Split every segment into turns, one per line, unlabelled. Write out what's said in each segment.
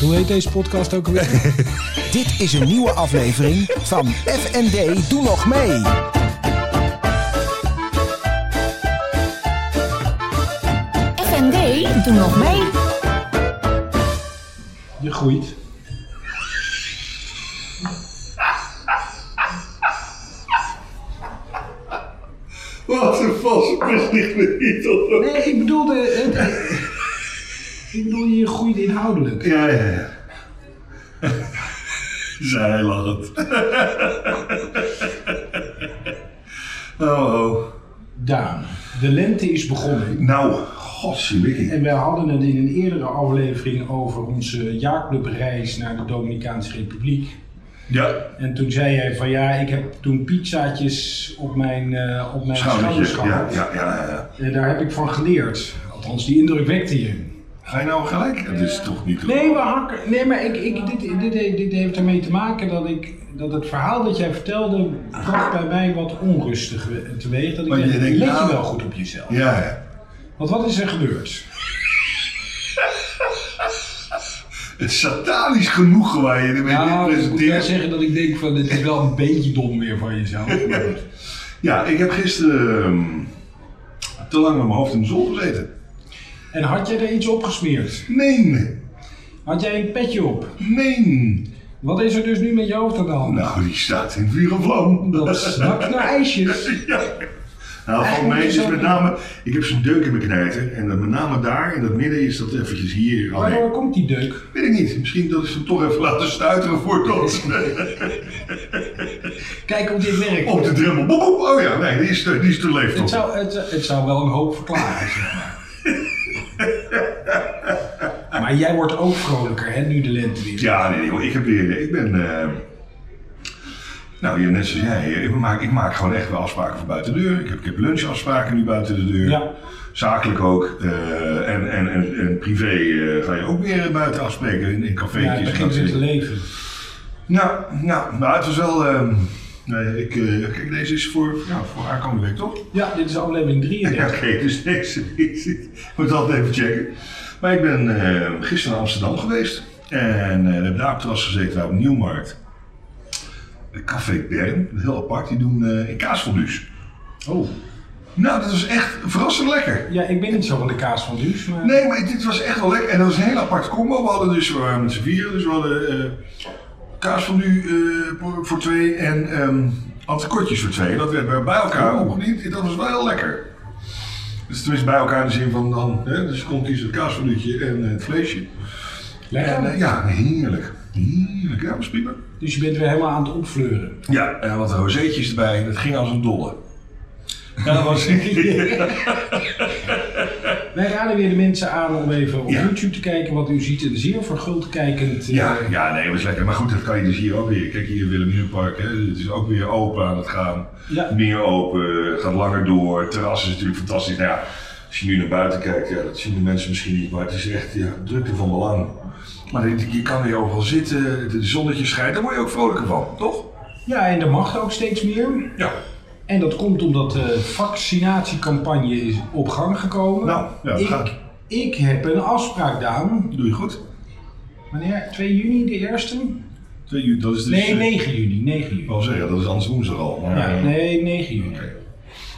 Hoe heet deze podcast ook alweer?
Dit is een nieuwe aflevering van FND Doe Nog Mee.
FND, doe nog mee.
Je groeit.
Wat een valse bericht
Nee, ik bedoelde... Het, ik bedoel, je groeit inhoudelijk.
Ja, ja, ja. Zij lachend. oh, oh.
Daan, de lente is begonnen.
Nou, godzielikkie.
En wij hadden het in een eerdere aflevering over onze jaarclubreis naar de Dominicaanse Republiek.
Ja,
En toen zei jij van ja, ik heb toen pizzaatjes op mijn, eh, op mijn schouders
schoudertje. Ja,
gehad.
ja, ja, ja.
En Eh, daar heb ik van geleerd. Althans, die indruk wekte je.
Ga je nou gelijk? Het is toch niet...
Nee, maar, hakken, nee, maar ik, ik, dit, dit, dit, dit heeft ermee te maken dat, ik, dat het verhaal dat jij vertelde bracht bij mij wat onrustig we- teweeg. Dat ik
Maar je
dacht,
denkt,
let
nou-
je wel goed op jezelf.
Ja, ja.
Want wat is er gebeurd?
Het satanisch genoegen waar je ermee
Nou, ik moet wel
presenteert.
zeggen dat ik denk van, dit is wel een beetje dom weer van jezelf. maar goed.
Ja, ik heb gisteren ehm, te lang met mijn hoofd in de zon gezeten.
en had jij er iets opgesmeerd?
Nee,
Had jij een petje op?
nee.
Wat is er dus nu met je hoofd aan de hand?
Nou, die staat in vuur en vlam.
Dat snakt naar ijsjes.
Nou, van
Eigenlijk
mij is
is dat-
met name, ik heb zo'n deuk in mijn knijter. En dan met name daar, in dat midden is dat eventjes hier. alleen.
Waardoor komt die deuk?
Weet ik niet, misschien dat ik ze toch even laten stuiteren voordat.
Kijk hoe dit werkt.
Op de drempel. Boep, boep. Oh ja, nee, die is, te- die is te
Het
leeftijd.
zou, het, het zou wel een hoop verklaren, zeg maar. Maar jij wordt ook vrolijker, hè, nu de lente weer.
Ja, nee, joh, ik heb weer, ik ben, eh, nou ja, net zoals jij, ik maak, ik maak gewoon echt wel afspraken voor buiten de deur. Ik heb, ik heb lunchafspraken nu buiten de deur.
Ja.
Zakelijk ook. eh, en, en, en, en privé eh, ga je ook weer buiten afspreken in, in cafeetjes.
Ja, het
en dat
begint
soort
weer te
dingen.
leven.
Nou, nou, nou, het was wel. ehm, nee, ik, eh, kijk, deze is voor, ja, voor aankomende week toch?
Ja, dit is aflevering
Ja,
33.
oké, dus deze is. Ik moet dat even checken. Maar ik ben eh, gisteren naar Amsterdam geweest. En eh, we hebben daar op het terras gezeten, daar op Nieuwmarkt. Eh, Café Bern, heel apart, die doen eh in kaasfondues.
Oh.
Nou, dat was echt verrassend lekker.
Ja, ik ben niet zo van de kaas van Duus, maar...
Nee, maar dit was echt wel lekker. En dat was een heel apart combo. We hadden dus, we waren met z'n vieren, dus we hadden eh kaas van nu eh, voor twee en ehm antikortjes voor twee. Dat werd bij elkaar opgediend. Dat was wel heel lekker. Dus tenminste bij elkaar in de zin van dan, hè, dus je kon kiezen het kaasvanuutje en eh, het vleesje.
Lekker.
En eh, ja, heerlijk. Heerlijk, ja, was prima.
Dus je bent weer helemaal aan het opfleuren.
Ja, en wat rozeetjes erbij. Dat ging als een dolle. Ja, dat was...
Wij raden weer de mensen aan om even op
Ja.
YouTube te kijken wat u ziet. Een zeer verguldkijkend... eh,
Ja, ja, nee, dat is lekker. Maar goed, dat kan je dus hier ook weer. Kijk, hier Wilhelminapark, hè, het is ook weer open aan het gaan.
Ja.
Meer open, gaat langer door. Het terras is natuurlijk fantastisch. Nou ja, als je nu naar buiten kijkt, ja, dat zien de mensen misschien niet, maar het is echt ja, drukte van belang. Maar je, je kan hier overal zitten, de zonnetje schijnt, daar word je ook vrolijker van, toch?
ja, en er mag ook steeds meer.
Ja.
En dat komt omdat de vaccinatiecampagne is op gang gekomen.
Nou, ja, het
ik,
gaat.
ik heb een afspraak, Daan.
Doe je goed.
Wanneer? 2 juni, de eerste?
Twee uur, dat is dus...
Nee,
eh,
9 juni. 9
Ik
juni.
wil zeggen, dat is anders woensdag al. Maar,
Ja,
eh,
nee, 9 juni.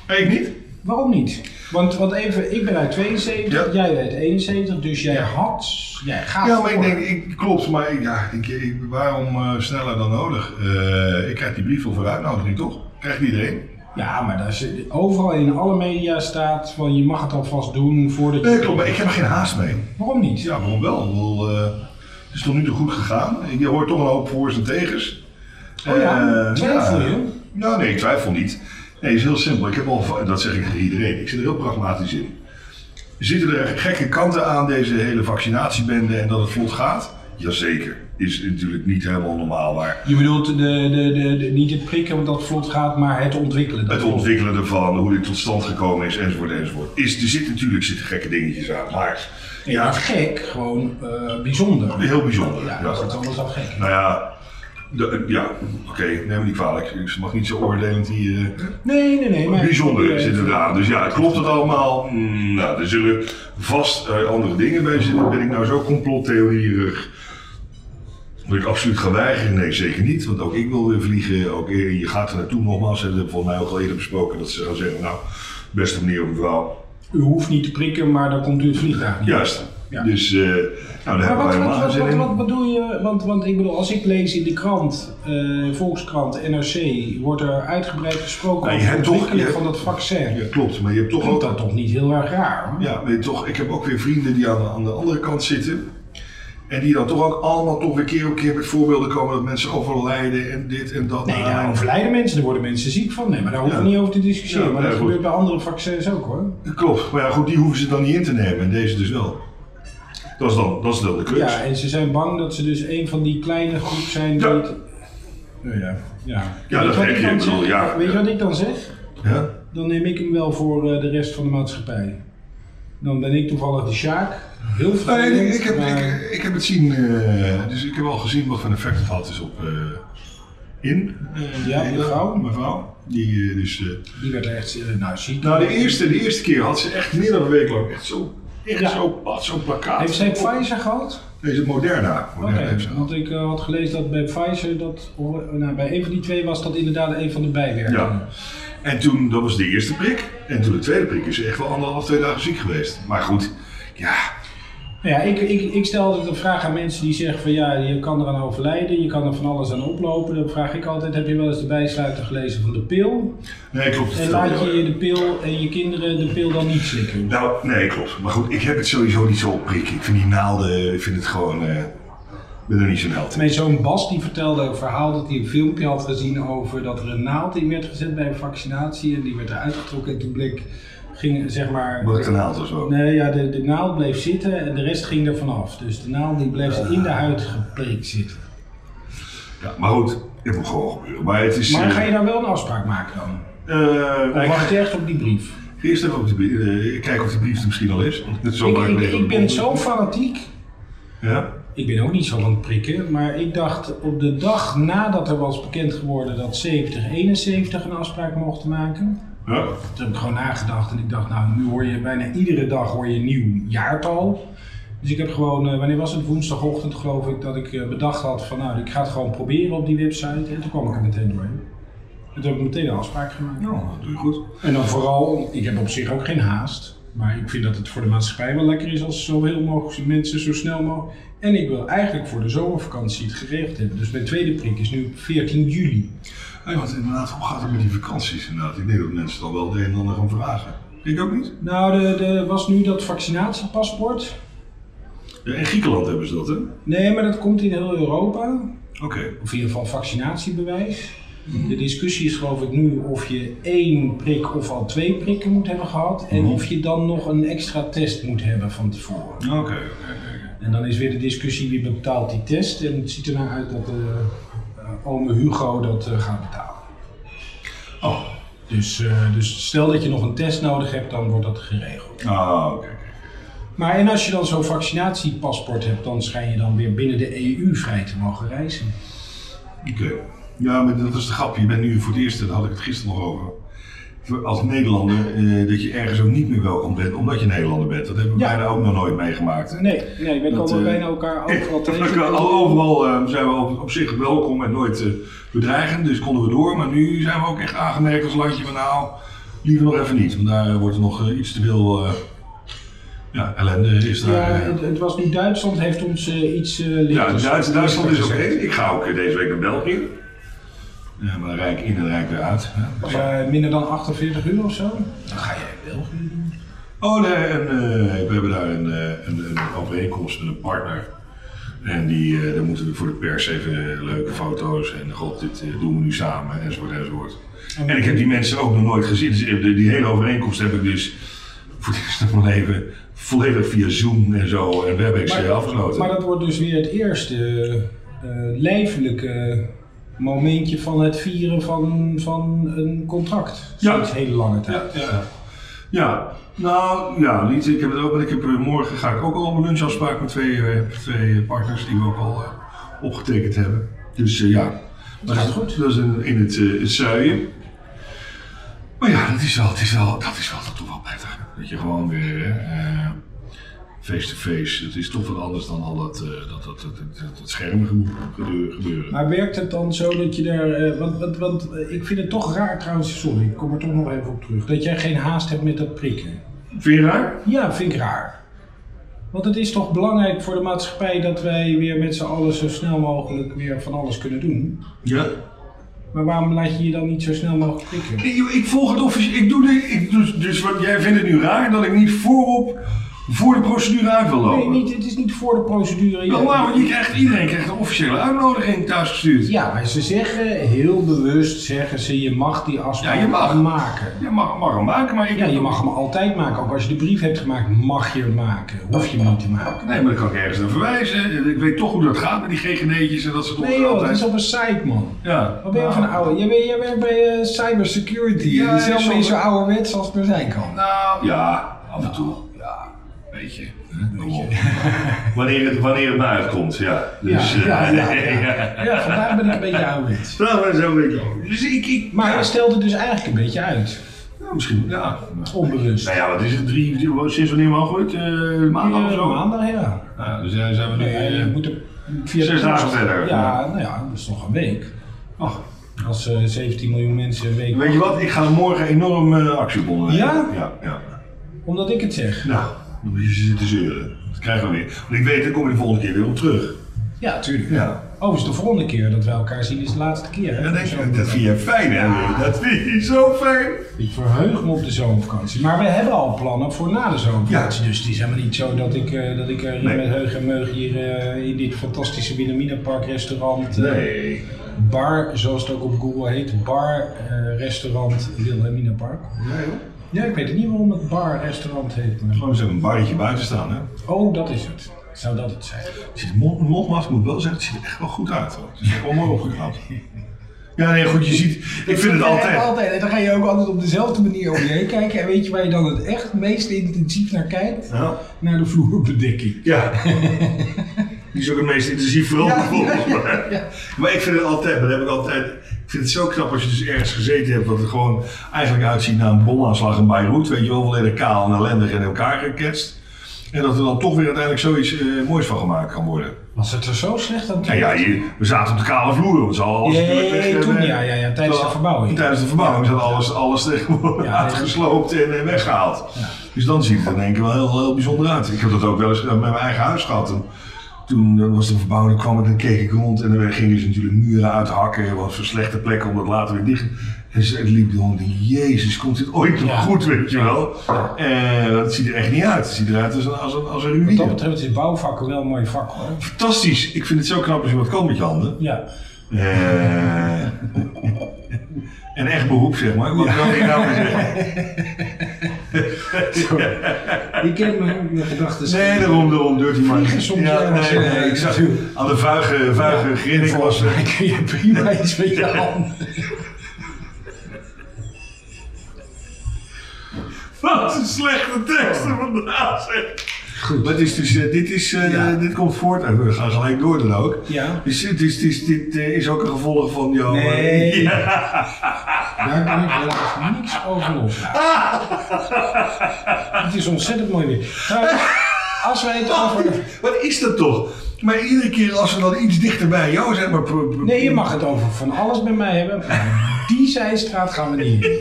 nee, Ik niet.
Waarom niet? Want, want even, ik ben uit 72,
Ja.
jij uit 71, dus jij had, jij gaat
Ja, maar ik
Ah, voor.
denk, ik, klopt, maar ik, ja, ik, ik- waarom eh, sneller dan nodig? Eh, ik krijg die brief al voor uitnodiging, toch? Krijgt iedereen?
Ja, maar daar is, overal in alle media staat van je mag het alvast doen voordat je...
Nee, klopt, maar ik heb er geen haast mee.
Waarom niet?
Ja, waarom wel? Ik bedoel, eh, het is tot nu toe goed gegaan. Je hoort toch een hoop voor's en tegens.
Oh ja?
Eh,
Twijfel je?
Nou nee, ik twijfel niet. Nee, het is heel simpel. Ik heb al, va- dat zeg ik tegen iedereen, ik zit er heel pragmatisch in. Zitten er gekke kanten aan deze hele vaccinatiebende en dat het vlot gaat? Jazeker. Is natuurlijk niet helemaal normaal, maar
Je bedoelt de, de, de, de- niet het prikken, want dat vlot gaat, maar het ontwikkelen.
Het ontwikkelen ervan, hoe dit tot stand gekomen is, enzovoort, enzovoort. Is, er zitten natuurlijk zitten gekke dingetjes aan, maar
Ja.
ja,
Gek, gewoon eh, bijzonder.
heel bijzonder.
Ja,
Ja,
dat is alles al gek.
Nou ja, de- ja oké, neem me niet kwalijk. Ik mag niet zo oordelend hier. eh,
Nee, nee, nee. Maar
bijzonder
Eh,
zitten eraan. Dus ja, klopt het allemaal? Mm, nou, er zullen vast eh, andere dingen bij zitten. Ben ik nou zo complottheorierig Heb ik absoluut geweigerd? Nee, zeker niet. Want ook ik wil weer vliegen. Ook eh, je gaat er naartoe nogmaals. Dat hebben we volgens mij ook al eerder besproken. Dat ze gaan zeggen, nou, beste meneer of mevrouw.
U hoeft niet te prikken, maar dan komt u het vliegtuig niet.
Juist.
Ja.
Dus, eh, nou, daar
Maar wat,
hebben wij
wat,
helemaal
wat,
geen zin
wat,
in.
wat bedoel je? Want, want ik bedoel, als ik lees in de krant, eh, Volkskrant, NRC, wordt er uitgebreid gesproken
Nou, je
over de
hebt toch-
ontwikkeling
je
van
hebt-
dat vaccin.
Ja, klopt. Maar je hebt toch
Komt
ook...
dat toch niet heel erg raar? hoor?
Ja, weet je toch, ik heb ook weer vrienden die aan, de- aan de andere kant zitten. En die dan toch ook allemaal toch weer keer op keer met voorbeelden komen dat mensen overlijden en dit en dat.
Nee,
Nou,
daar overlijden mensen, daar worden mensen ziek van. Nee, maar daar hoeven we
Ja.
niet over te discussiëren.
Ja,
maar
nee,
dat
goed.
gebeurt bij andere vaccins ook hoor.
Klopt, maar ja, goed, die hoeven ze dan niet in te nemen en deze dus wel. Dat is dan, dat is dan de crux.
Ja,
Ja,
en ze zijn bang dat ze dus een van die kleine groep zijn die
Ja.
het- Nou ja, ja.
Ja,
Weet
dat
je wat
heb
ik
je,
dan
ik bedoel,
zeg?
ja.
Weet je wat ik dan zeg? Dan neem ik hem wel voor eh, de rest van de maatschappij. Dan ben ik toevallig de Sjaak. Heel veel.
Nou, Nee, ik, ik, heb,
maar-
ik, ik heb het zien, eh, dus ik heb al gezien wat voor een effect het had dus op eh, in. eh,
Ja,
Ina,
mevrouw.
Mevrouw. Die eh, dus... eh,
Die werd er echt, eh, nou ziek.
nou, de eerste, de eerste keer had ze echt meer dan een week lang echt zo... Echt
Ja.
zo, had zo'n plakkaat.
Heeft zij Pfizer gehad?
Deze Moderna.
Oké,
Moderna heeft ze
want ik eh, had gelezen dat bij Pfizer, dat, nou, bij een van die twee was dat inderdaad een van de bijwerkingen.
Ja. En toen, dat was de eerste prik. En toen de tweede prik is ze echt wel anderhalf, twee dagen ziek geweest. Maar goed, ja,
Nou Ja, ik, ik, ik stel altijd een vraag aan mensen die zeggen van ja, je kan eraan overlijden, je kan er van alles aan oplopen. Dan vraag ik altijd, heb je wel eens de bijsluiter gelezen van de pil?
nee, klopt.
En laat je de pil en je kinderen de pil dan niet slikken?
Nou, nee, klopt. Maar goed, ik heb het sowieso niet zo op prik. Ik vind die naalden, ik vind het gewoon, eh, ik ben er niet zo'n held in.
Mijn zoon Bas die vertelde een verhaal dat hij een filmpje had gezien over dat er een naald in werd gezet bij een vaccinatie en die werd eruit getrokken en toen bleek, ging zeg maar...
Omdat het een naald was ook.
Nee, ja, de, de naald bleef zitten en de rest ging er vanaf. Dus de naald die bleef in de huid geprikt zitten.
Ja, maar goed, het moet gewoon gebeuren. Maar het is...
Maar
eh,
ga je daar wel een afspraak maken dan?
eh,
Of
ik
wacht
ga
je echt op die brief?
eerst even op de, brie- eh, kijken of die brief er misschien al is. Want het is wel
Ik,
lang
ik,
geleden
ik
dat
ben
het
zo
begon.
fanatiek.
Ja?
Ik ben ook niet zo van het prikken, maar ik dacht op de dag nadat er was bekend geworden dat 70, 71 een afspraak mochten maken.
Ja?
Toen heb ik gewoon nagedacht en ik dacht, nou nu hoor je bijna iedere dag hoor je een nieuw jaartal. Dus ik heb gewoon, eh, wanneer was het? Woensdagochtend geloof ik, dat ik eh, bedacht had van nou ik ga het gewoon proberen op die website. En toen kwam ik er meteen doorheen. En toen heb ik meteen een afspraak gemaakt.
Nou, dat doe je goed.
En dan vooral, ik heb op zich ook geen haast. Maar ik vind dat het voor de maatschappij wel lekker is als zo heel mogelijk mensen zo snel mogelijk. En ik wil eigenlijk voor de zomervakantie het geregeld hebben. Dus mijn tweede prik is nu 14 juli.
Hey, want inderdaad, hoe gaat het met die vakanties inderdaad? Ik denk dat mensen dan wel de een en ander gaan vragen. Ik ook niet.
Nou, er de, was nu dat vaccinatiepaspoort.
Ja, in Griekenland hebben ze dat, hè? Oké.
Nee, maar dat komt in heel Europa. Of in ieder geval vaccinatiebewijs. De discussie is geloof ik nu of je één prik of al twee prikken moet hebben gehad. En
Mhm.
of je dan nog een extra test moet hebben van tevoren.
Oké, oké, oké.
En dan is weer de discussie wie betaalt die test. En het ziet er nou uit dat eh eh, ome Hugo dat eh, gaat betalen.
Oh,
Dus, eh, dus stel dat je nog een test nodig hebt, dan wordt dat geregeld.
ah, oké. oké.
Maar en als je dan zo'n vaccinatiepaspoort hebt, dan schijn je dan weer binnen de EU vrij te mogen reizen.
Oké. Ja, maar dat is de grap. Je bent nu voor het eerst, daar had ik het gisteren nog over. Voor- Als Nederlander, eh, dat je ergens ook niet meer welkom bent, omdat je Nederlander bent. Dat hebben we
Ja.
bijna ook nog nooit meegemaakt. hè?
Nee, nee wij
Dat,
komen
eh,
bijna elkaar overal
Dat
tegen.
was wel- al overal eh, zijn we op, op zich welkom en nooit eh, bedreigend, dus konden we door. Maar nu zijn we ook echt aangemerkt als landje van nou, liever nog even niet. Want daar wordt er nog eh, iets te veel eh, ja, ellende. Is daar,
Ja,
eh.
het, het was nu Duitsland heeft ons eh, iets eh lichter.
Ja, Duits, Duitsland is oké.
lichter gezet.
Ik ga ook eh, deze week naar België. Ja, maar dan rijk in en rijk weer uit. hè.
Eh, minder dan 48 uur of zo. Dan ga jij wel.
Oh nee, en, eh, we hebben daar een, eh, een, een overeenkomst met een partner. En die, eh, daar moeten we voor de pers even eh, leuke foto's en god, dit eh, doen we nu samen enzovoort enzovoort. En, ik heb die mensen ook nog nooit gezien. Dus, eh, de- die hele overeenkomst heb ik dus voor het eerst van mijn leven volledig via Zoom en zo en WebEx eh, afgesloten.
Maar dat wordt dus weer het eerste eh lijfelijke momentje van het vieren van, van een contract.
Ja.
Sinds hele lange tijd.
Ja, ja. ja, nou ja, niet. Ik heb het ook, want ik heb eh, morgen ga ik ook al een lunchafspraak met twee, eh, twee partners die we ook al eh, opgetekend hebben. Dus eh, ja, dat
gaat
is
goed.
Dat is in, in het, eh, het zuien. Maar ja, dat is wel, het is wel, dat is wel toch wel prettig. Dat je gewoon weer eh, face-to-face, dat is toch wat anders dan al dat, eh, dat, dat, dat, dat, dat schermgebeuren. gebeuren.
Maar werkt het dan zo dat je daar. eh, want, want, want eh, ik vind het toch raar trouwens, sorry, ik kom er toch nog even op terug. Dat jij geen haast hebt met dat prikken.
Vind je raar?
Ja, vind ik raar. Want het is toch belangrijk voor de maatschappij dat wij weer met z'n allen zo snel mogelijk weer van alles kunnen doen.
Ja.
Maar waarom laat je je dan niet zo snel mogelijk prikken?
Ik, ik volg het officieel. Ik doe dit. Ik, dus, dus wat jij vindt het nu raar dat ik niet voorop voor de procedure uit wil
Nee,
lopen.
niet, het is niet voor de procedure.
Nou, maar, want je krijgt, iedereen krijgt een officiële uitnodiging thuis gestuurd.
Ja, maar ze zeggen heel bewust, zeggen ze, je mag die afspraak
Ja, je mag.
maken.
Je mag, mag hem maken, maar ik
Ja, je mag hem altijd maken. Ook als je de brief hebt gemaakt, mag je hem maken. Hoef je hem niet te maken.
Nee, maar dan kan ik ergens naar verwijzen. Ik weet toch hoe dat gaat met die GGD'tjes en dat soort
Nee joh, dat is op een site man.
Ja.
Wat ben je van een oude? Jij bent, jij bent bij eh, cybersecurity.
Ja,
Ja, zelf ben je
soms-
zo ouderwets als het maar zijn kan.
Nou, ja, af en toe. Ja, weet je. Weet je. wanneer, het, wanneer het maar uitkomt, ja. Dus, eh,
ja, ja, ja. ja, vandaag ben ik een beetje ouderwets.
Nou, maar zo weet je. Dus ik... ik
Maar
ja.
hij stelt het dus eigenlijk een beetje uit.
Ja, misschien, ja.
Onbewust.
Nou ja, wat is het? Drie, drie- sinds wanneer mogelijk? Eh maandag of
Eh,
zo?
maandag, ja.
Ja, dus ja, zijn we nu...
Nee,
eh,
je moet er via
Zes
de
dagen verder. Oh.
Ja, nou ja, dat is nog een week.
ach,
Als eh, 17 miljoen mensen een week.
weet je wat? Ik ga morgen enorm eh actie ondernemen.
Ja?
Ja, ja.
Omdat ik het zeg.
Nou, dan moet je zitten zeuren. Dat krijgen we weer. Want ik weet, daar kom je de volgende keer weer op terug.
Ja, tuurlijk.
Ja.
Overigens, de volgende keer dat we elkaar zien is de laatste keer. Hè?
En dan denk
Zo
je, dat
meteen.
vind je fijn, hè? Dat vind je zo fijn.
Ik verheug me op de zomervakantie. Maar we hebben al plannen voor na de zomervakantie.
Ja.
Dus het is helemaal niet zo dat ik, eh, dat ik er
Nee.
met heug en meug hier eh, in dit fantastische Wilhelminapark restaurant, eh,
Nee.
bar, zoals het ook op Google heet, bar eh, restaurant Wilhelminapark.
Nee, hoor.
Ja, ik weet het niet waarom het bar restaurant heet. Maar...
Gewoon zo'n barretje buiten staan, hè?
Oh, dat is het. Zou dat het zijn?
Het ziet, mond- mondmask moet ik wel zeggen, het ziet er echt wel goed uit, hoor. Het is echt wel mooi opgeklapt. Ja, nee, goed, je ziet, ik vind het altijd.
altijd. En dan ga je ook altijd op dezelfde manier om je heen kijken. En weet je waar je dan het echt meest intensief naar kijkt?
Ja.
Naar de vloerbedekking.
Ja. Die is ook het meest intensief veranderd volgens mij. Maar ik vind het altijd, maar dat heb ik altijd. Ik vind het zo knap als je dus ergens gezeten hebt dat het gewoon eigenlijk uitziet naar een bomaanslag in Beirut. Weet je wel, volledig kaal en ellendig in elkaar geketst. En dat er dan toch weer uiteindelijk zoiets eh, moois van gemaakt kan worden.
Was het er zo slecht aan toe?
Nou ja, je- we zaten op de kale vloer, want ze hadden alles
Ja,
natuurlijk weg-
ja, ja, toen,
eh,
ja, ja, ja, tijdens de
terwijl-
verbouwing.
Tijdens de verbouwing ze hadden alles, alles tegenwoordig
Ja, ja.
uitgesloopt en eh, weggehaald. Dus dan ziet het in één keer wel heel, heel bijzonder uit. Ik heb dat ook wel eens gedaan met mijn eigen huis gehad. En toen eh, was de verbouwing, dan kwam ik en keek ik rond en er gingen ze natuurlijk muren uithakken. Het was een slechte plek om dat later weer dicht en ze en liep de hond, jezus, komt dit ooit nog
Ja.
goed, weet je wel. Eh, het ziet er echt niet uit. Het ziet eruit als een, als een, als een
Wat dat
ruïne.
betreft is bouwvakken wel een mooi vak hoor.
Fantastisch. Ik vind het zo knap als je wat kan met je handen.
Ja.
Eh, een echt beroep, zeg maar. Wat wil ik nou weer zeggen?
Ik ken mijn, mijn gedachten.
Nee, daarom, daarom, dirty man.
Vliegen soms
Ja,
ergens,
nee, nee,
eh,
ik zag
naartoe.
aan de vuige, vuige grinnik was... eh,
Dan kun je prima iets met je handen.
Wat een slechte teksten vandaag, zeg.
Goed.
Maar het is dus, eh, dit, is, eh,
Ja.
dit komt voort en we gaan gelijk door dan ook.
Ja.
Dus dit is, dit is, dit eh, is ook een gevolg van jouw... eh,
Nee. Daar kan ik helaas niks over los. Het is ontzettend mooi weer. Trouwens, als wij het over...
Wat is dat toch? Maar iedere keer als we dan iets dichter bij jou zijn... Maar pro- pro-
Nee, je mag het over van alles bij mij hebben. Die zijstraat gaan we niet in.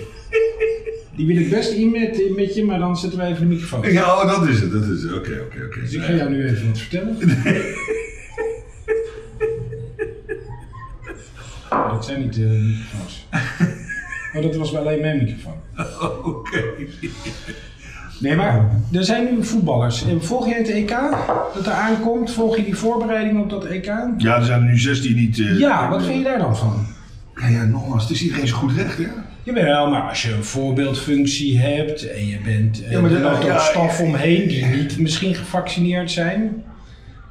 Die wil ik best in met, met je, maar dan zetten wij even de microfoon. Dus
Ja, oh, dat is het. Dat is het. Oké, oké, oké.
ik ga jou nu even wat vertellen. Dat zijn niet de microfoons. Maar dat was wel alleen mijn microfoon.
Oké.
Nee, maar er zijn nu voetballers. En Volg jij het EK dat er aankomt? Volg je die voorbereiding op dat EK?
Ja, er zijn er nu zes die niet... eh,
Ja, wat vind je daar dan van?
Ja, ja, nogmaals, het is iedereen zo goed recht, hè?
Jawel, maar als je een voorbeeldfunctie hebt en je bent eh,
Ja, maar
er
de-
loopt ook
ja,
staf
ja.
omheen die niet misschien gevaccineerd zijn.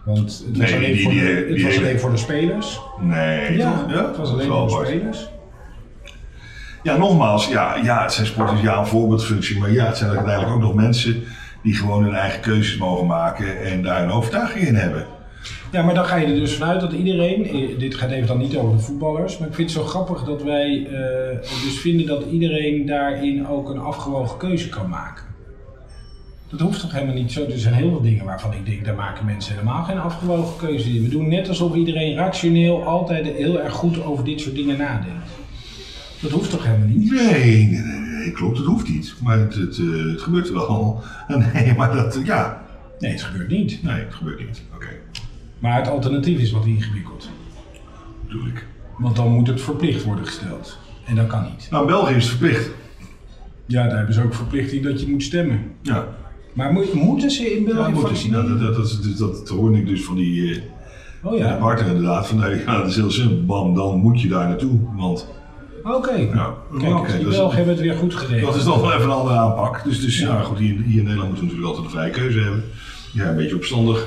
Want het was
Nee,
alleen,
die-
voor, de,
die-
het
die
was
hele-
alleen voor de spelers.
Nee,
Ja,
toch?
het
Dat
was
is
alleen
wel
voor de
apart.
spelers.
Ja, nogmaals, ja, ja, het zijn sporters, ja, een voorbeeldfunctie. Maar ja, het zijn uiteindelijk ook nog mensen die gewoon hun eigen keuzes mogen maken en daar een overtuiging in hebben.
Ja, maar dan ga je er dus vanuit dat iedereen, eh, dit gaat even dan niet over de voetballers, maar ik vind het zo grappig dat wij eh, dus vinden dat iedereen daarin ook een afgewogen keuze kan maken. Dat hoeft toch helemaal niet zo. Er zijn heel veel dingen waarvan ik denk, daar maken mensen helemaal geen afgewogen keuze in. We doen net alsof iedereen rationeel altijd heel erg goed over dit soort dingen nadenkt. Dat hoeft toch helemaal niet?
Nee, nee, nee, nee, klopt, het hoeft niet. Maar het, het, eh, het gebeurt wel. Nee, maar dat, ja.
Nee, het gebeurt niet.
Nee, het gebeurt niet. Oké,
Maar het alternatief is wat ingewikkeld.
bedoel ik.
Want dan moet het verplicht worden gesteld. En dat kan niet.
Nou, in België is het verplicht.
Ja, daar hebben ze ook verplichting dat je moet stemmen.
Ja.
Maar moet- moeten ze in
Ja,
België
moet ik,
vaccineren?
dat, dat, dat, dat, dat hoorde ik dus van die eh
Oh ja, oké.
partner inderdaad. Van, nee, ja, dat is heel simpel. Bam, dan moet je daar naartoe. Want ja,
Kijk,
oké, dus-
die
dat, is,
Belgen hebben het weer goed geregeld.
dat is dan wel even een andere aanpak. Dus, dus ja. goed, hier, hier in Nederland moeten we natuurlijk altijd een vrije keuze hebben. Ja, een beetje opstandig.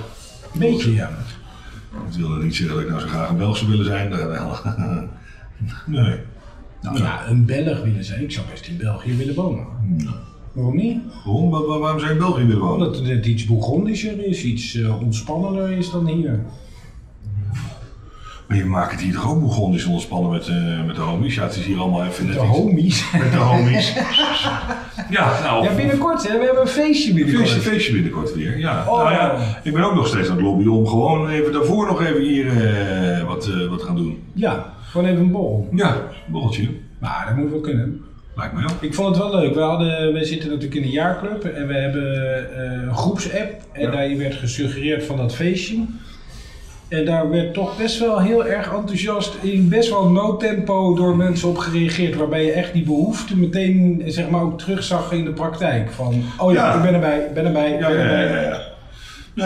Beetje ja.
Ik wil niet zeggen dat ik nou zo graag een Belg zou willen zijn. Nee, wel. nee.
Nou ja, een Belg willen zijn. Ik zou best in België willen wonen. Waarom niet?
Waarom? Wa- wa- Waarom zou je in België willen wonen?
Omdat het net iets bourgondischer is, iets eh, ontspannender is dan hier.
Maar je maakt het hier toch ook begonnen is ontspannen met, eh, met de homies. Ja, het is hier allemaal even net
De
iets-
homies.
Met de homies. ja, nou.
Ja, binnenkort hè, we hebben een feestje binnenkort.
Feestje, feestje binnenkort weer, ja.
Oh.
Nou ja, ik ben ook nog steeds aan het lobbyen om gewoon even daarvoor nog even hier eh, wat, eh, wat gaan doen.
Ja, gewoon even een borrel.
Ja, borreltje.
Maar dat moet wel kunnen.
Lijkt me wel.
Ik vond het wel leuk. We, hadden, we zitten natuurlijk in de jaarclub en we hebben eh, een groepsapp. En
Ja.
daarin werd gesuggereerd van dat feestje. En daar werd toch best wel heel erg enthousiast in best wel no-tempo door mensen op gereageerd. Waarbij je echt die behoefte meteen zeg maar, ook terugzag in de praktijk. Van, oh ja,
Ja.
ik ben erbij, ik ben erbij, ik
Ja,
ben
ja, ja,
erbij.
ja, ja.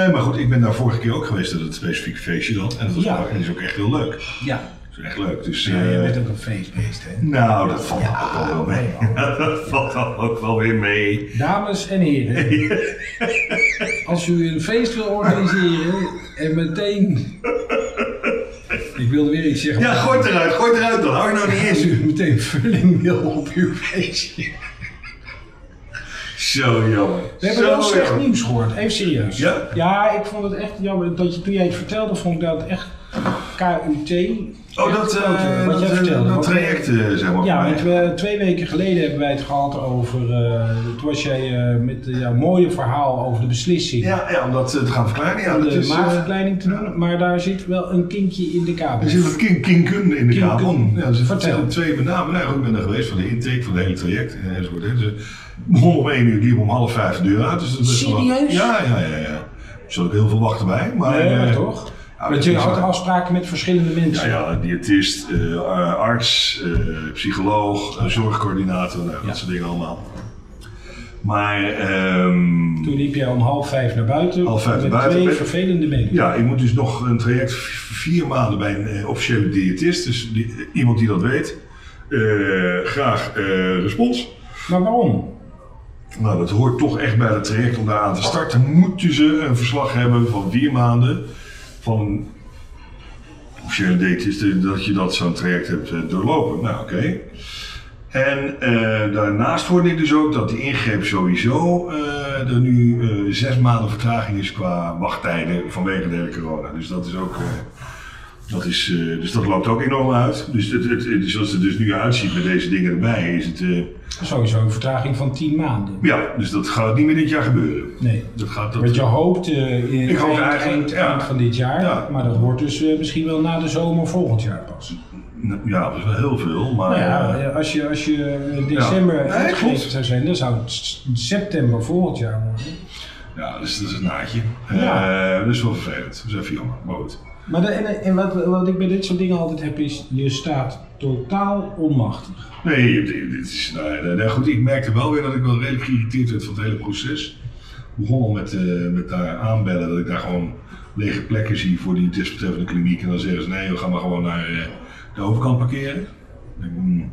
Nee, maar goed, ik ben daar vorige keer ook geweest, dat het specifieke feestje dan. En dat was
Ja.
en dat is ook echt heel leuk. Dat
Ja.
is echt leuk. Dus,
Ja, jij
eh,
bent ook een feestbeest, hè?
Nou, dat valt ook wel wel mee. dat valt dan ook wel weer mee.
Dames en heren, als u een feest wil organiseren en meteen... Ik wilde weer iets zeggen.
Ja,
maar-
gooi het eruit, gooi het eruit dan. Hou je nou niet
Als
eens.
u meteen vulling wil op uw feestje.
Zo jammer.
We hebben
Zo
wel slecht
jammer.
nieuws gehoord, even serieus.
Ja?
ik vond het echt jammer. Dat je, toen jij het vertelde, vond ik dat echt KUT.
Oh, dat,
Echt klote,
eh,
wat
dat,
jij
eh,
vertelde.
dat
Want-
traject, eh, zeg maar.
Ja,
voor mij.
want we, twee weken geleden hebben wij het gehad over. eh, toen was jij eh, met eh, jouw mooie verhaal over de beslissing.
Ja, ja, om dat eh, te gaan verklaren. Ja,
om
dat
de
is, eh,
maagverkleining te doen, maar daar zit wel een kinkje in de kabel.
er zit wat kin- kinkun in de
Kinkun.
kabel. Ja, er zitten
Vertel.
twee met name. Nou, goed, ik ben er geweest van de intake van het hele traject eh, enzovoort. hè. Dus, eh, begon om 1 uur, liep om half vijf de deur uit. Dus dat is best wel-
Serieus?
Ja, ja, ja. ja. Zal ik heel veel wachten bij. Maar,
Nee, maar
eh,
Oh, toch?
ja,
Want
dat
je
is-
houdt afspraken met verschillende
Ja,
mensen.
ja, diëtist, eh, a- arts, eh, psycholoog, eh, zorgcoördinator, nou,
Ja.
dat soort dingen allemaal. Maar ehm,
Toen liep jij om half vijf naar buiten.
Half vijf
met
naar buiten.
twee
Met-
vervelende mensen.
ja, ik moet dus nog een traject v- vier maanden bij een eh, officiële diëtist, dus die- eh, iemand die dat weet. Eh, graag eh, respons.
Maar waarom?
Nou, dat hoort toch echt bij het traject om daaraan te starten. Moeten ze een verslag hebben van vier maanden van een officiële diëtist, eh, dat je dat zo'n traject hebt eh, doorlopen. Nou, oké. En eh, daarnaast hoorde ik dus ook dat die ingreep sowieso eh, er nu eh, zes maanden vertraging is qua wachttijden vanwege de hele corona. Dus dat is ook. eh, dat is, eh, dus dat loopt ook enorm uit. Dus het, het, het- zoals het er dus nu uitziet met deze dingen erbij, is het. eh,
Sowieso een vertraging van 10 maanden.
ja, dus dat gaat niet meer dit jaar gebeuren.
Nee.
Dat gaat
Want
dat,
je hoopt eh, in
Ik hoop
eind,
eigenlijk,
eind,
ja.
eind van dit jaar,
Ja.
maar dat wordt dus eh, misschien wel na de zomer volgend jaar pas.
Oh, Nou, ja, dat is wel heel veel, maar.
Nou ja,
eh,
ja, als je, als je in december
Nee,
uitgegeven
klopt.
zou zijn, dan zou het s- september volgend jaar worden.
ja, dus dat is een naadje.
Ja.
Eh, dat is wel vervelend. Dat is even jammer, maar goed.
Maar de- en, en wat, wat ik bij dit soort dingen altijd heb is, je staat totaal onmachtig.
Nee, dit dit is, nou, ja, nou, goed, ik merkte wel weer dat ik wel redelijk geïrriteerd werd van het hele proces. Ik begon al met, eh, met daar aanbellen, dat ik daar gewoon lege plekken zie voor die desbetreffende kliniek. En dan zeggen ze, nee, we gaan maar gewoon naar eh, de overkant parkeren. Ik denk, hmm.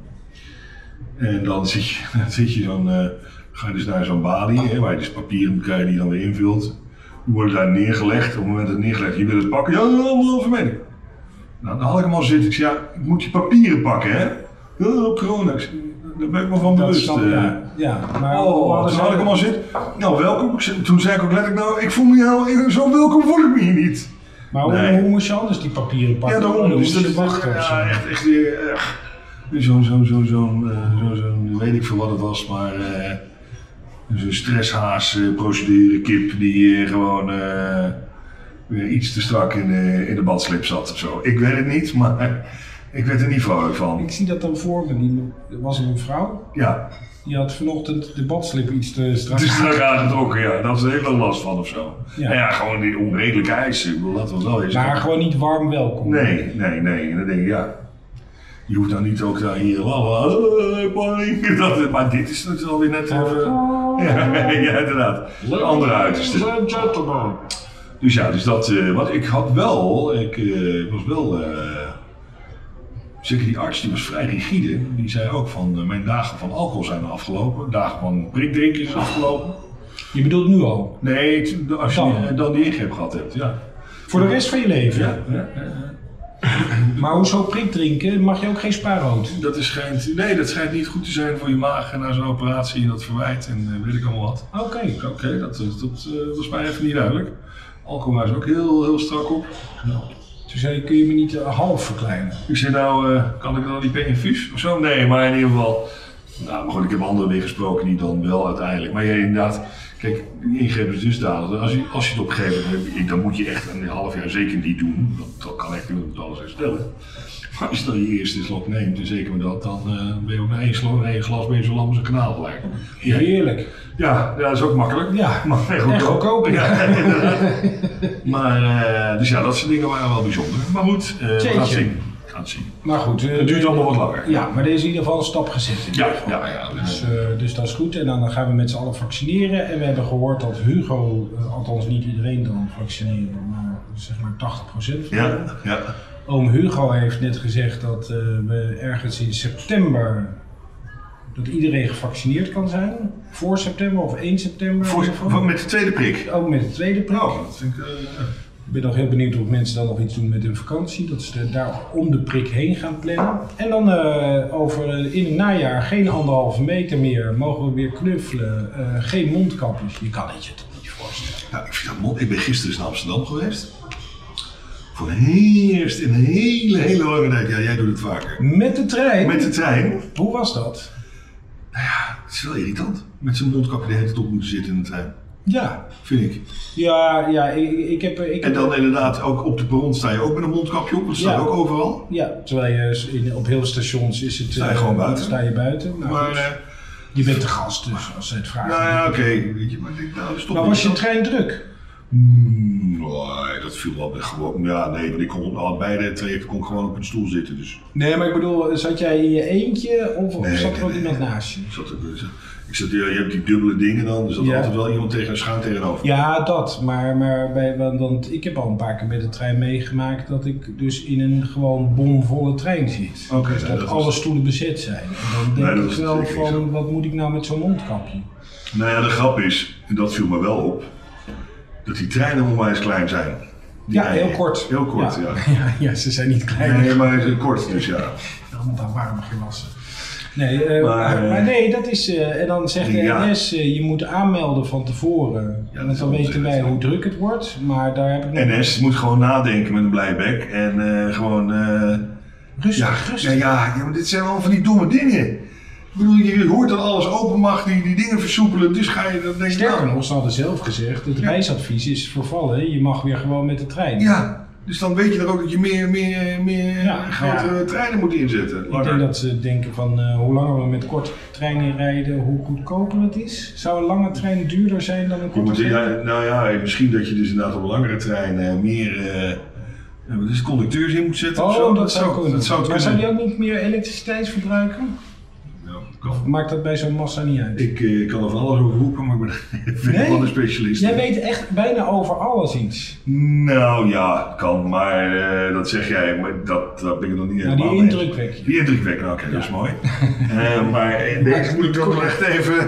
En dan zit je, dan zit je zo'n, eh, ga je dus naar zo'n balie, hè, waar je dus papieren moet krijgen die je dan weer invult. Die worden daar neergelegd, op het moment dat het neergelegd je wil het pakken, ja, ja, anderhalve meter. Nou, dan had ik hem al zitten. Ik zei, ja, ik moet die papieren pakken, hè? Ja, op corona. Ik zei, Daar ben ik me van
Dat
bewust.
snap
eh.
ja. ja, maar hoe
Oh,
hadden
toen
zij
had ik
dat-
hem al zitten. Nou, welkom. Ik zei- Toen zei ik ook letterlijk, nou, ik voel me heel, ik- zo welkom voel ik me hier niet.
maar hoe,
Nee.
hoe moest je anders die papieren
Ja,
pakken?
daarom.
Dan
Dus
moest
dat
je
is
wachten of zo.
ja, echt, echt weer, echt. Zo'n, zo'n, zo'n, zo'n, eh, zo'n, zo'n, weet ik veel wat het was, maar eh, Dus een stresshaas, eh, procedure kip die eh, gewoon eh, weer iets te strak in de, in de badslip zat of zo. Ik weet het niet, maar eh, ik werd er niet vrolijk van.
Ik zie dat dan voor me. Die- Er was een vrouw,
Ja,
die had vanochtend de badslip iets te strak.
Dus het is strak aangetrokken, ja. Daar was er heel veel last van of zo.
Dus Ja.
Ja, ja gewoon die onredelijke eisen. Ik bedoel, dat was wel eens.
Maar gewoon niet warm welkom.
Nee, nee, nee. En dan denk ik, ja. Je hoeft dan niet ook daar hier. la, la, eh, boing. Dat- Maar dit is natuurlijk alweer net even. Ja, ja, inderdaad. Een andere uiterste.
gentlemen.
Dus ja, dus dat. eh, wat ik had wel. Ik eh, was wel. eh, zeker die arts, die was vrij rigide. Die zei ook van. eh, mijn dagen van alcohol zijn afgelopen. Dagen van prikdrinken is afgelopen.
Je bedoelt nu al.
Nee, t- als je
Dan.
eh, dan die ingreep gehad hebt. Ja.
Voor de rest van je leven.
Ja, ja, ja.
Maar hoezo prik drinken? Mag je ook geen spaarrood?
Dat is schijnt, nee, dat schijnt niet goed te zijn voor je maag en na zo'n operatie en dat verwijt en eh, weet ik allemaal wat.
Oké.
Oké, dat, dat, eh, was mij even niet duidelijk. Alcohol is ook heel, heel strak op.
Nou, Toen zei je, kun je me niet eh, half verkleinen?
Ik zei nou, eh, kan ik dan die infuus of zo? Nee, maar in ieder geval. Nou, maar goed, ik heb anderen weer gesproken die dan wel uiteindelijk. Maar ja, inderdaad, kijk, die ingreep is dusdanig. Als je, als je het op een gegeven moment hebt, dan moet je echt een half jaar zeker niet doen. Dat, dat kan echt niet, want alles herstellen. Maar als je dan je eerste slok neemt, en zeker met dat, dan eh, ben je ook na één, slok, na één glas ben je zo lam als een kanaal gelijk. Ja,
Heerlijk.
ja, ja, dat is ook makkelijk.
Ja,
maar
en goedkoop.
Ja, inderdaad. maar, eh, dus ja, dat soort dingen waren wel bijzonder. Maar goed, eh we gaan het
Jeetje.
zien. We gaan het zien.
Maar goed. eh,
Het duurt allemaal wat langer.
Ja, maar er is in ieder geval een stap gezet. in.
Ja, ja, ja.
Dus, eh, dus dat is goed. En dan gaan we met z'n allen vaccineren. En we hebben gehoord dat Hugo, eh, althans niet iedereen dan vaccineren, maar zeg maar 80%. van
Ja,
de-
ja.
Oom Hugo heeft net gezegd dat eh, we ergens in september, dat iedereen gevaccineerd kan zijn. Voor september of 1 september.
Voor,
of zo.
voor- met de tweede prik.
Ook met de tweede prik.
Nou, dat vind ik... eh,
Ik ben nog heel benieuwd of mensen dan nog iets doen met hun vakantie. Dat ze daar om de prik heen gaan plannen. En dan eh, over eh, in het najaar geen anderhalve meter meer. Mogen we weer knuffelen. eh, geen mondkapjes. Je kan het je toch niet voorstellen.
Nou, ik, vind dat mond- ik ben gisteren eens naar Amsterdam geweest. Voor de eerst in een hele, hele lange tijd. Ja, jij doet het vaker.
Met de trein.
Met de trein.
Hoe was dat?
Het is wel irritant. Met zijn mondkapje de hele tijd op moeten zitten in de trein.
Ja.
Vind ik.
Ja, ja ik, ik heb... eh, Ik
En
heb
dan inderdaad, ook op de perron sta je ook met een mondkapje op. Dat staat
Ja.
ook overal.
ja, terwijl je in, op heel stations is het...
Sta je
eh,
gewoon buiten.
Sta je buiten. Nou,
Maar,
goed.
eh,
je bent de gast, dus als ze het vragen.
nou ja, oké. weet je, Maar ik denk, nou, dat is toch
maar was je
irritant.
trein druk?
Hmm, nee, dat viel wel weg. Gewoon, ja, nee, want ik kon al bij de trajecten kon ik gewoon op een stoel zitten. Dus
Nee, maar ik bedoel, eh, zat jij in je eentje of, of
Nee,
zat er
nee,
ook
nee.
iemand naast je?
ik zat, ook, eh, ik zat, ja, je hebt die dubbele dingen dan. Er zat
Ja.
altijd wel iemand tegen een schuin tegenover.
Ja, dat. Maar, maar bij, want, want ik heb al een paar keer met de trein meegemaakt dat ik dus in een gewoon bomvolle trein zit.
Oké,
dus
nee,
dat,
dat is-
alle stoelen bezet zijn. En dan denk
Nee, dat
ik
is
wel
zeker niet
van,
zo.
wat moet ik nou met zo'n mondkapje?
Nou ja, de grap is, en dat viel me wel op, dat die treinen onwijs klein zijn. Die
Ja,
rijden.
heel kort.
Heel kort, ja.
ja. ja, ze zijn niet klein.
Nee, maar ze- kort dus ja.
Dan, dan waren we geen wassen. Nee, eh, maar,
Maar, eh,
maar nee, dat is... eh, en dan zegt de
ja.
NS, eh, je moet aanmelden van tevoren.
Ja,
En
dat is
dan weten
onzin.
wij hoe druk het wordt. Maar daar heb ik nog...
NS moet gewoon nadenken met een blij bek en eh, gewoon... eh, Ja,
Rustig,
ja,
rustig.
ja, ja, maar dit zijn wel van die domme dingen. Ik bedoel, je hoort dat alles open mag, die, die dingen versoepelen, dus ga je dat denk je,
Sterker
nou,
nog, ze hadden zelf gezegd, het reisadvies is vervallen. Je mag weer gewoon met de trein.
Ja, dus dan weet je dan ook dat je meer, meer, meer
Ja,
grote
ja.
treinen moet inzetten.
Ik
Langer.
denk dat ze denken van eh, hoe langer we met korte treinen rijden, hoe goedkoper het is. Zou een lange trein duurder zijn dan een
Je
korte
moet,
trein?
ja, nou ja, misschien dat je dus inderdaad op een langere trein eh, meer eh, eh, wat is het, conducteurs in moet zetten of
Oh,
zo.
dat, zou kunnen.
Dat zou
maar
kunnen.
zou die ook niet meer elektriciteit verbruiken?
Ja, kan.
Maakt dat bij zo'n massa niet uit?
Ik eh, kan er van alles over roepen, maar ik ben ik ben
Nee?
wel een specialist.
Jij weet echt bijna over alles iets.
Nou ja, kan, maar eh, dat zeg jij, maar dat, dat ben ik nog niet
Nou,
helemaal
die
mee eens.
indruk wek je.
Die indruk wekken, nou, oké, dat is mooi. Eh, maar eh, deze moet ik toch nog echt even.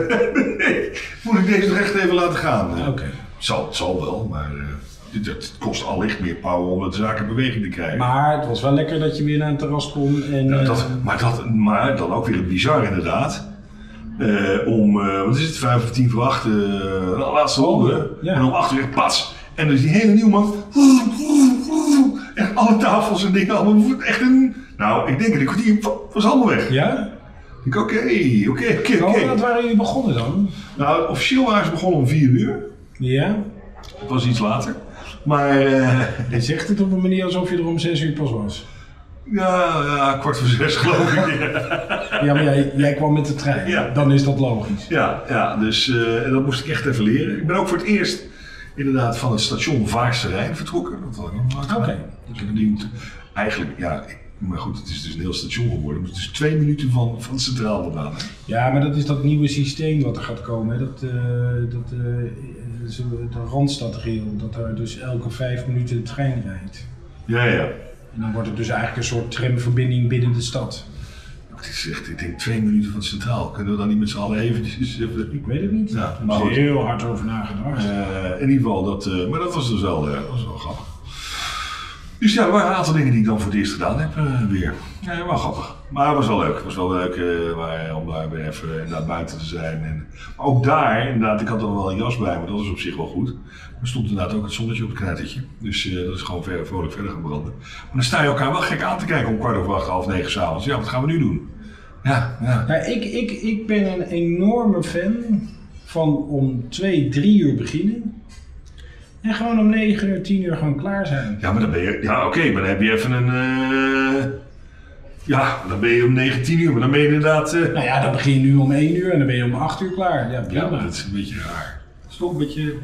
moet ik deze nog echt even laten gaan?
Oké.
Zal, het zal wel, maar eh, dit- het kost allicht meer power om het zaken beweging te krijgen.
Maar het was wel lekker dat je weer naar een terras kon. En,
Nou, dat,
eh,
maar, dat, maar dan ook weer bizar inderdaad. Eh, om, eh, wat is het, vijf of tien voor acht, eh, de laatste ronde.
ja.
En om acht uur, pats. En dus die hele nieuwman. En alle tafels en dingen allemaal. Echt een, nou, ik denk in een kwartier was allemaal weg.
ja?
Ik oké, oké, oké,
Oh, wat
oké.
waren jullie begonnen dan?
Nou, officieel waren ze begonnen om 4 uur.
Ja?
Het was iets later. Maar eh,
Je zegt het op een manier alsof je er om zes uur pas was.
ja, ja, kwart voor zes geloof ik.
Ja, maar jij, jij kwam met de trein.
Ja.
Dan is dat logisch.
Ja, ja dus eh, en dat moest ik echt even leren. Ik ben ook voor het eerst inderdaad van het station Vaarse Rijn vertrokken. Dat had ik nog nooit gedaan.
Oké.
Dus ik heb die moeten- eigenlijk, ja, ik- maar goed, het is dus een heel station geworden. Maar het is twee minuten van, van Centraal vandaan.
Ja, maar dat is dat nieuwe systeem wat er gaat komen. Hè? Dat, eh, dat eh, zo- de Randstadrail, dat er dus elke vijf minuten een trein rijdt.
Ja, ja.
En dan wordt het dus eigenlijk een soort tramverbinding binnen de stad.
Het is echt, ik denk twee minuten van Centraal. Kunnen we dan niet met z'n allen eventjes... even-
Ik weet het niet.
Ja,
Daar
maar
is
goed.
heel hard over nagedacht.
Eh, in ieder geval, dat, eh, maar dat was dus wel, eh, dat was wel grappig. Dus ja, er waren een aantal dingen die ik dan voor het eerst gedaan heb eh, weer. Ja, wel grappig. Maar het was wel leuk. Het was wel leuk eh, waar- om daar weer even inderdaad buiten te zijn. En, maar ook daar, inderdaad, ik had dan wel een jas bij, maar dat was op zich wel goed. Er stond inderdaad ook het zonnetje op het knettertje. Dus eh, dat is gewoon ver, vrolijk verder gaan branden. Maar dan sta je elkaar wel gek aan te kijken om kwart over acht, half negen s'avonds. Ja, wat gaan we nu doen? Ja, ja.
Nou, ik, ik, ik ben een enorme fan van om twee, drie uur beginnen. En gewoon om negen uur, tien uur gewoon klaar zijn.
Ja, maar dan ben je. Ja, oké, maar dan heb je even een. eh, ja, dan ben je om 19 uur, maar dan ben je inderdaad. eh,
Nou ja, dan begin je nu om 1 uur en dan ben je om 8 uur klaar. Ja,
ja,
prima.
maar dat is een beetje raar. Dat is toch een beetje.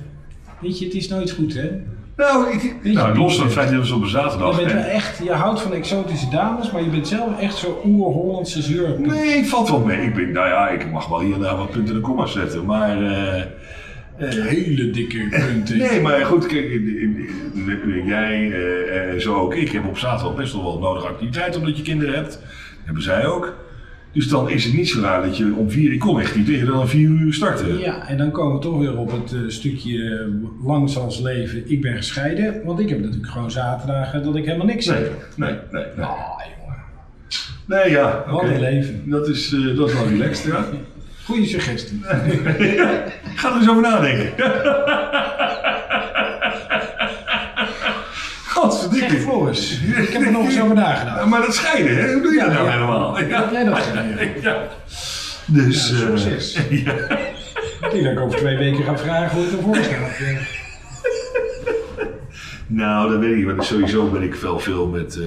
Weet je, het is nooit goed, hè?
Nou, ik, nou los van het feit dat het is op een
Je,
zaterdag.
bent wel
en-
echt, je houdt van exotische dames, maar je bent zelf echt zo'n oer-Hollandse zeur.
Nee, ik valt wel mee. Ik ben, nou ja, ik mag wel hier en daar wat punten en komma's zetten, maar. eh, eh,
Hele dikke punten.
Nee, maar goed, kijk, in- in- in- jij eh, eh, zo ook. Ik heb op zaterdag best wel wat nodige activiteit omdat je kinderen hebt. Dat hebben zij ook. Dus dan is het niet zo raar dat je om vier, ik kon echt niet eerder dan vier uur starten.
Ja, en dan komen we toch weer op het eh, stukje eh, langs als leven. Ik ben gescheiden, want ik heb natuurlijk gewoon zaterdagen dat ik helemaal niks
Nee,
heb.
nee, nee. Nee,
Ah, jongen.
nee ja,
Wat
oké.
een leven.
Dat is, eh, dat is wel relaxed, ja.
Goeie suggestie.
Ga er eens over nadenken.
Zeg
Godverdikke.
Floris, ik heb er nog eens over nagedacht.
Maar dat scheiden, hè? Hoe doe je dat nou
ja.
helemaal?
Heb jij dat gedaan?
Ja. Dus,
Ja,
eh,
succes.
ja.
Ik denk dat ik over twee weken ga vragen hoe het ervoor staat.
Nou, dat weet ik niet, want ik- sowieso ben ik wel veel met, eh,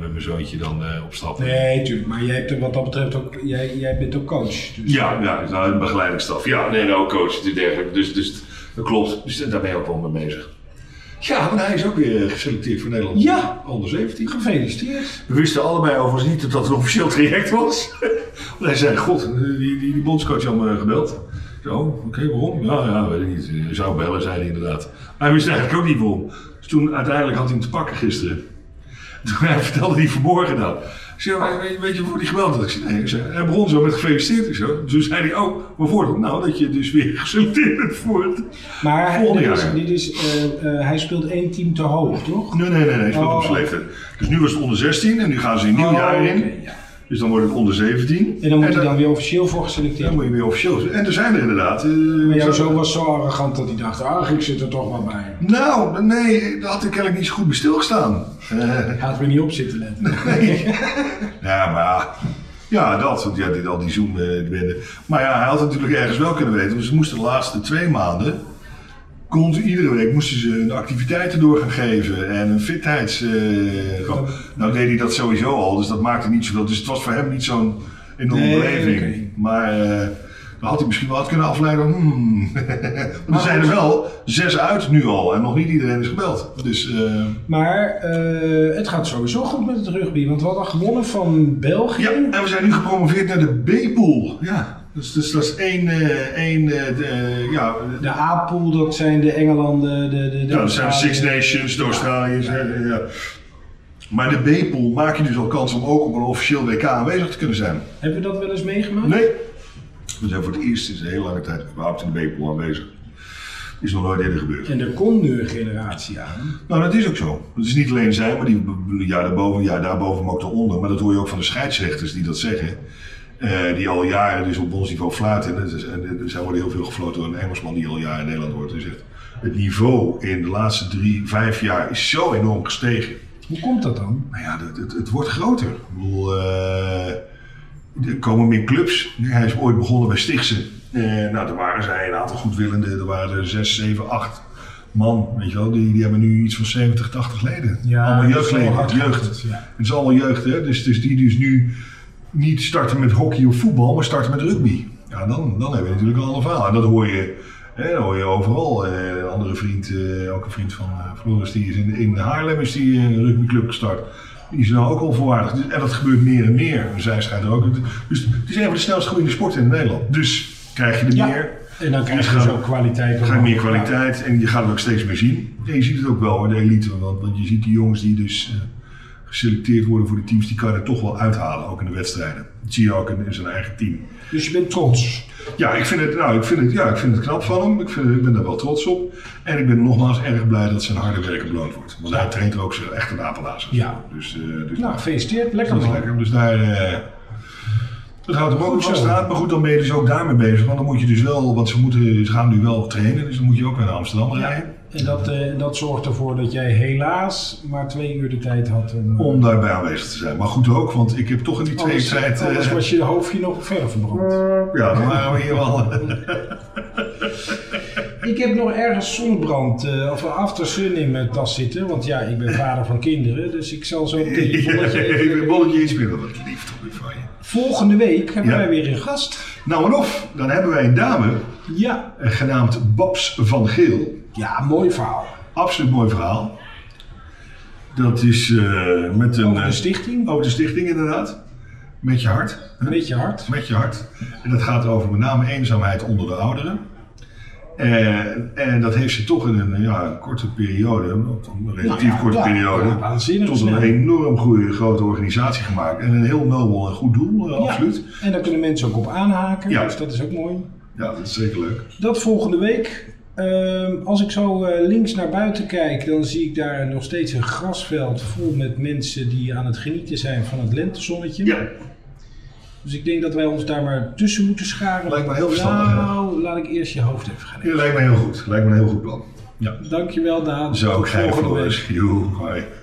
met mijn zoontje dan eh, op stap.
Nee, tuurlijk. Maar jij hebt er wat dat betreft ook, jij, jij bent ook coach. Dus
Ja, ja, nou, een begeleidingsstaf. Ja, nee, nou, coach en dergelijke. Dus, dus dat klopt. Dus daar ben je ook wel mee bezig. Ja, maar hij is ook weer eh, geselecteerd voor Nederland.
Ja.
onder 17.
gefeliciteerd.
We wisten allebei overigens niet dat dat een officieel traject was. Want hij zei, god, die, die, die bondscoach had me gebeld. Zo, oké, waarom? Ja, ja, weet ik niet. Hij zou bellen, zei hij inderdaad. Maar hij wist eigenlijk ook niet waarom. Dus toen, uiteindelijk had hij hem te pakken gisteren. Toen hij vertelde hij vanmorgen dat. Ik zei, maar weet, weet je waarvoor die gebeld had? Ik zei, nee. Ik zei, hij begon zo met gefeliciteerd. Ik zo. Toen zei hij, oh, waarvoor dan? Nou, dat je dus weer geselecteerd bent voor het...
Maar hij-
Volgende
dit is,
jaar.
dit is, eh, eh, hij speelt één team te hoog, toch?
Nee, nee, nee, nee, ik speel
Oh.
op zijn leeftijd. Dus nu was het onder 16 en nu gaan ze een nieuw
Oh,
jaar in.
oké, ja.
Dus dan wordt het onder 17.
En dan moet hij
dan-
dan weer officieel voor
Ja,
geselecteerd
dan moet
worden.
je weer officieel zijn. En er zijn er inderdaad. eh,
Maar jouw
zo-
zoon was zo arrogant dat hij dacht, ach, ik zit er toch wel bij.
Nou, nee, daar had ik eigenlijk niet zo goed bij stilgestaan. Eh,
Hij had weer niet op zitten letten.
ja, maar ja. Ja, dat. Want ja, dit, al die zoom eh, binnen. Maar ja, hij had het natuurlijk ergens wel kunnen weten. Want ze moesten de laatste twee maanden... Kon iedere week moesten ze hun activiteiten door gaan geven en een fitheids. eh, gewoon. nou deed hij dat sowieso al, dus dat maakte niet zoveel. Dus het was voor hem niet zo'n enorme
Nee,
beleving.
oké.
Maar eh, dan had hij misschien wel had kunnen afleiden. Hmm. Want
Maar-
er zijn er wel zes uit nu al en nog niet iedereen is gebeld. Dus eh,
Maar eh, het gaat sowieso goed met het rugby, want we hadden gewonnen van België.
Ja, en we zijn nu gepromoveerd naar de B-pool. Ja, dus, dus dat is één, eh, één eh, de, eh, ja,
De A-pool, dat zijn de Engelanden, de... de, de
ja, dat zijn de Six Nations, de Australiërs. hè, Ja. Maar de B-pool maak je dus al kans om ook op een officieel WK aanwezig te kunnen zijn.
Hebben we dat wel eens meegemaakt?
Nee. We zijn voor het eerst sinds een hele lange tijd überhaupt in de B-pool aanwezig. Is nog nooit eerder gebeurd.
En er komt nu een generatie aan.
Nou, dat is ook zo. Het is niet alleen zij, maar die b- ja, daarboven, ja, daarboven, maar ook daaronder. Maar dat hoor je ook van de scheidsrechters die dat zeggen. Eh, die al jaren dus op ons niveau fluiten. En, het is- en, en zij worden heel veel gefloten door een Engelsman die al jaren in Nederland wordt. Dus zegt, het niveau in de laatste drie, vijf jaar is zo enorm gestegen.
Hoe komt dat dan?
Nou ja, het, het, het wordt groter. Ik bedoel, eh, er komen meer clubs. Hij is ooit begonnen bij Stichtse. Eh, nou, daar waren zij een aantal goedwillenden. Er waren er zes, zeven, acht man. Weet je wel, die, die hebben nu iets van 70, 80 leden. allemaal
dat is wel
jeugdleden,
hard
jeugd.
gehaald, ja.
Het is allemaal jeugd, hè? Dus, dus die dus nu niet starten met hockey of voetbal, maar starten met rugby. Ja, dan, dan hebben we natuurlijk een ander verhaal. En dat hoor je, hè, dat hoor je overal. Eh, Een andere vriend, eh, ook een vriend van eh, Floris, die is in, in Haarlem is die eh, een rugbyclub gestart. Die is nou ook al volwaardig. Dus- En dat gebeurt meer en meer. En Zij schijnt er ook. Dus het is een van de snelst groeiende sporten in Nederland. Dus krijg je er
Ja.
meer.
En dan krijg je
Dus
dus
ga-
ook kwaliteit.
Dan ga je
omhoog.
meer kwaliteit en je gaat het ook steeds meer zien. En je ziet het ook wel bij de elite, want, want je ziet die jongens die dus eh, geselecteerd worden voor de teams, die kan je er toch wel uithalen, ook in de wedstrijden. Dat zie je ook in, in zijn eigen team.
Ja. Dus je bent trots.
Ja, ik vind het, nou, ik vind het, ja, ik vind het knap van hem. Ik, vind, ik ben daar wel trots op. En ik ben nogmaals erg blij dat zijn harde werken beloond wordt. Want hij traint ook zijn echte Napelaars.
Ja.
Dus, eh, dus
Nou,
dat
gefeliciteerd. Lekker
dat is
man.
lekker. Dus daar. eh, dat houdt hem ook
Goed
op
zo.
straat, maar goed, dan ben je dus ook daarmee bezig. Want dan moet je dus wel, want ze, moeten, ze gaan nu wel trainen, dus dan moet je ook weer naar Amsterdam rijden.
En dat, eh, dat zorgt ervoor dat jij helaas maar twee uur de tijd had. Om, eh,
om daarbij aanwezig te zijn. Maar goed ook, want ik heb toch in die twee
anders,
tijd. eh,
anders was je hoofdje nog verder verbrand.
ja, dan waren we hier
Oh,
wel. eh,
Ik heb nog ergens zonnebrand eh, of een aftersun in mijn tas zitten. Want ja, ik ben vader van kinderen. Dus ik zal zo meteen je bolletje even-
Even een bolletje inspelen, wat lief toch weer van je.
Volgende week hebben
Ja.
wij weer een gast.
Nou en of, dan hebben wij een dame,
Ja.
eh, genaamd Babs van Geel.
Ja, mooi verhaal.
Absoluut mooi verhaal. Dat is eh, met een.
Over
eh,
de stichting.
over de stichting, inderdaad. Met je hart.
Een beetje hard.
Met je hart. En dat gaat over met name eenzaamheid onder de ouderen. En, en dat heeft ze toch in een ja, een korte periode, een relatief
Nou ja,
korte
ja,
periode,
ja, waanzinnig
tot een
snel.
enorm goede grote organisatie gemaakt. En een heel nobel en goed doel, eh,
Ja.
absoluut.
En daar kunnen mensen ook op aanhaken.
Ja.
Dus dat is ook mooi.
Ja, dat is zeker leuk.
Dat volgende week. Ehm, als ik zo eh, links naar buiten kijk, dan zie ik daar nog steeds een grasveld vol met mensen die aan het genieten zijn van het lentezonnetje.
Ja,
Dus ik denk dat wij ons daar maar tussen moeten scharen.
Lijkt me heel verstandig, hè?
Nou, laat ik eerst je hoofd even gaan
dat lijkt me heel goed. Lijkt me een heel goed plan.
nemen. Dankjewel, Daan.
Zo,
Tot
ik ga je
volgende week.
voor. Joe, hoi.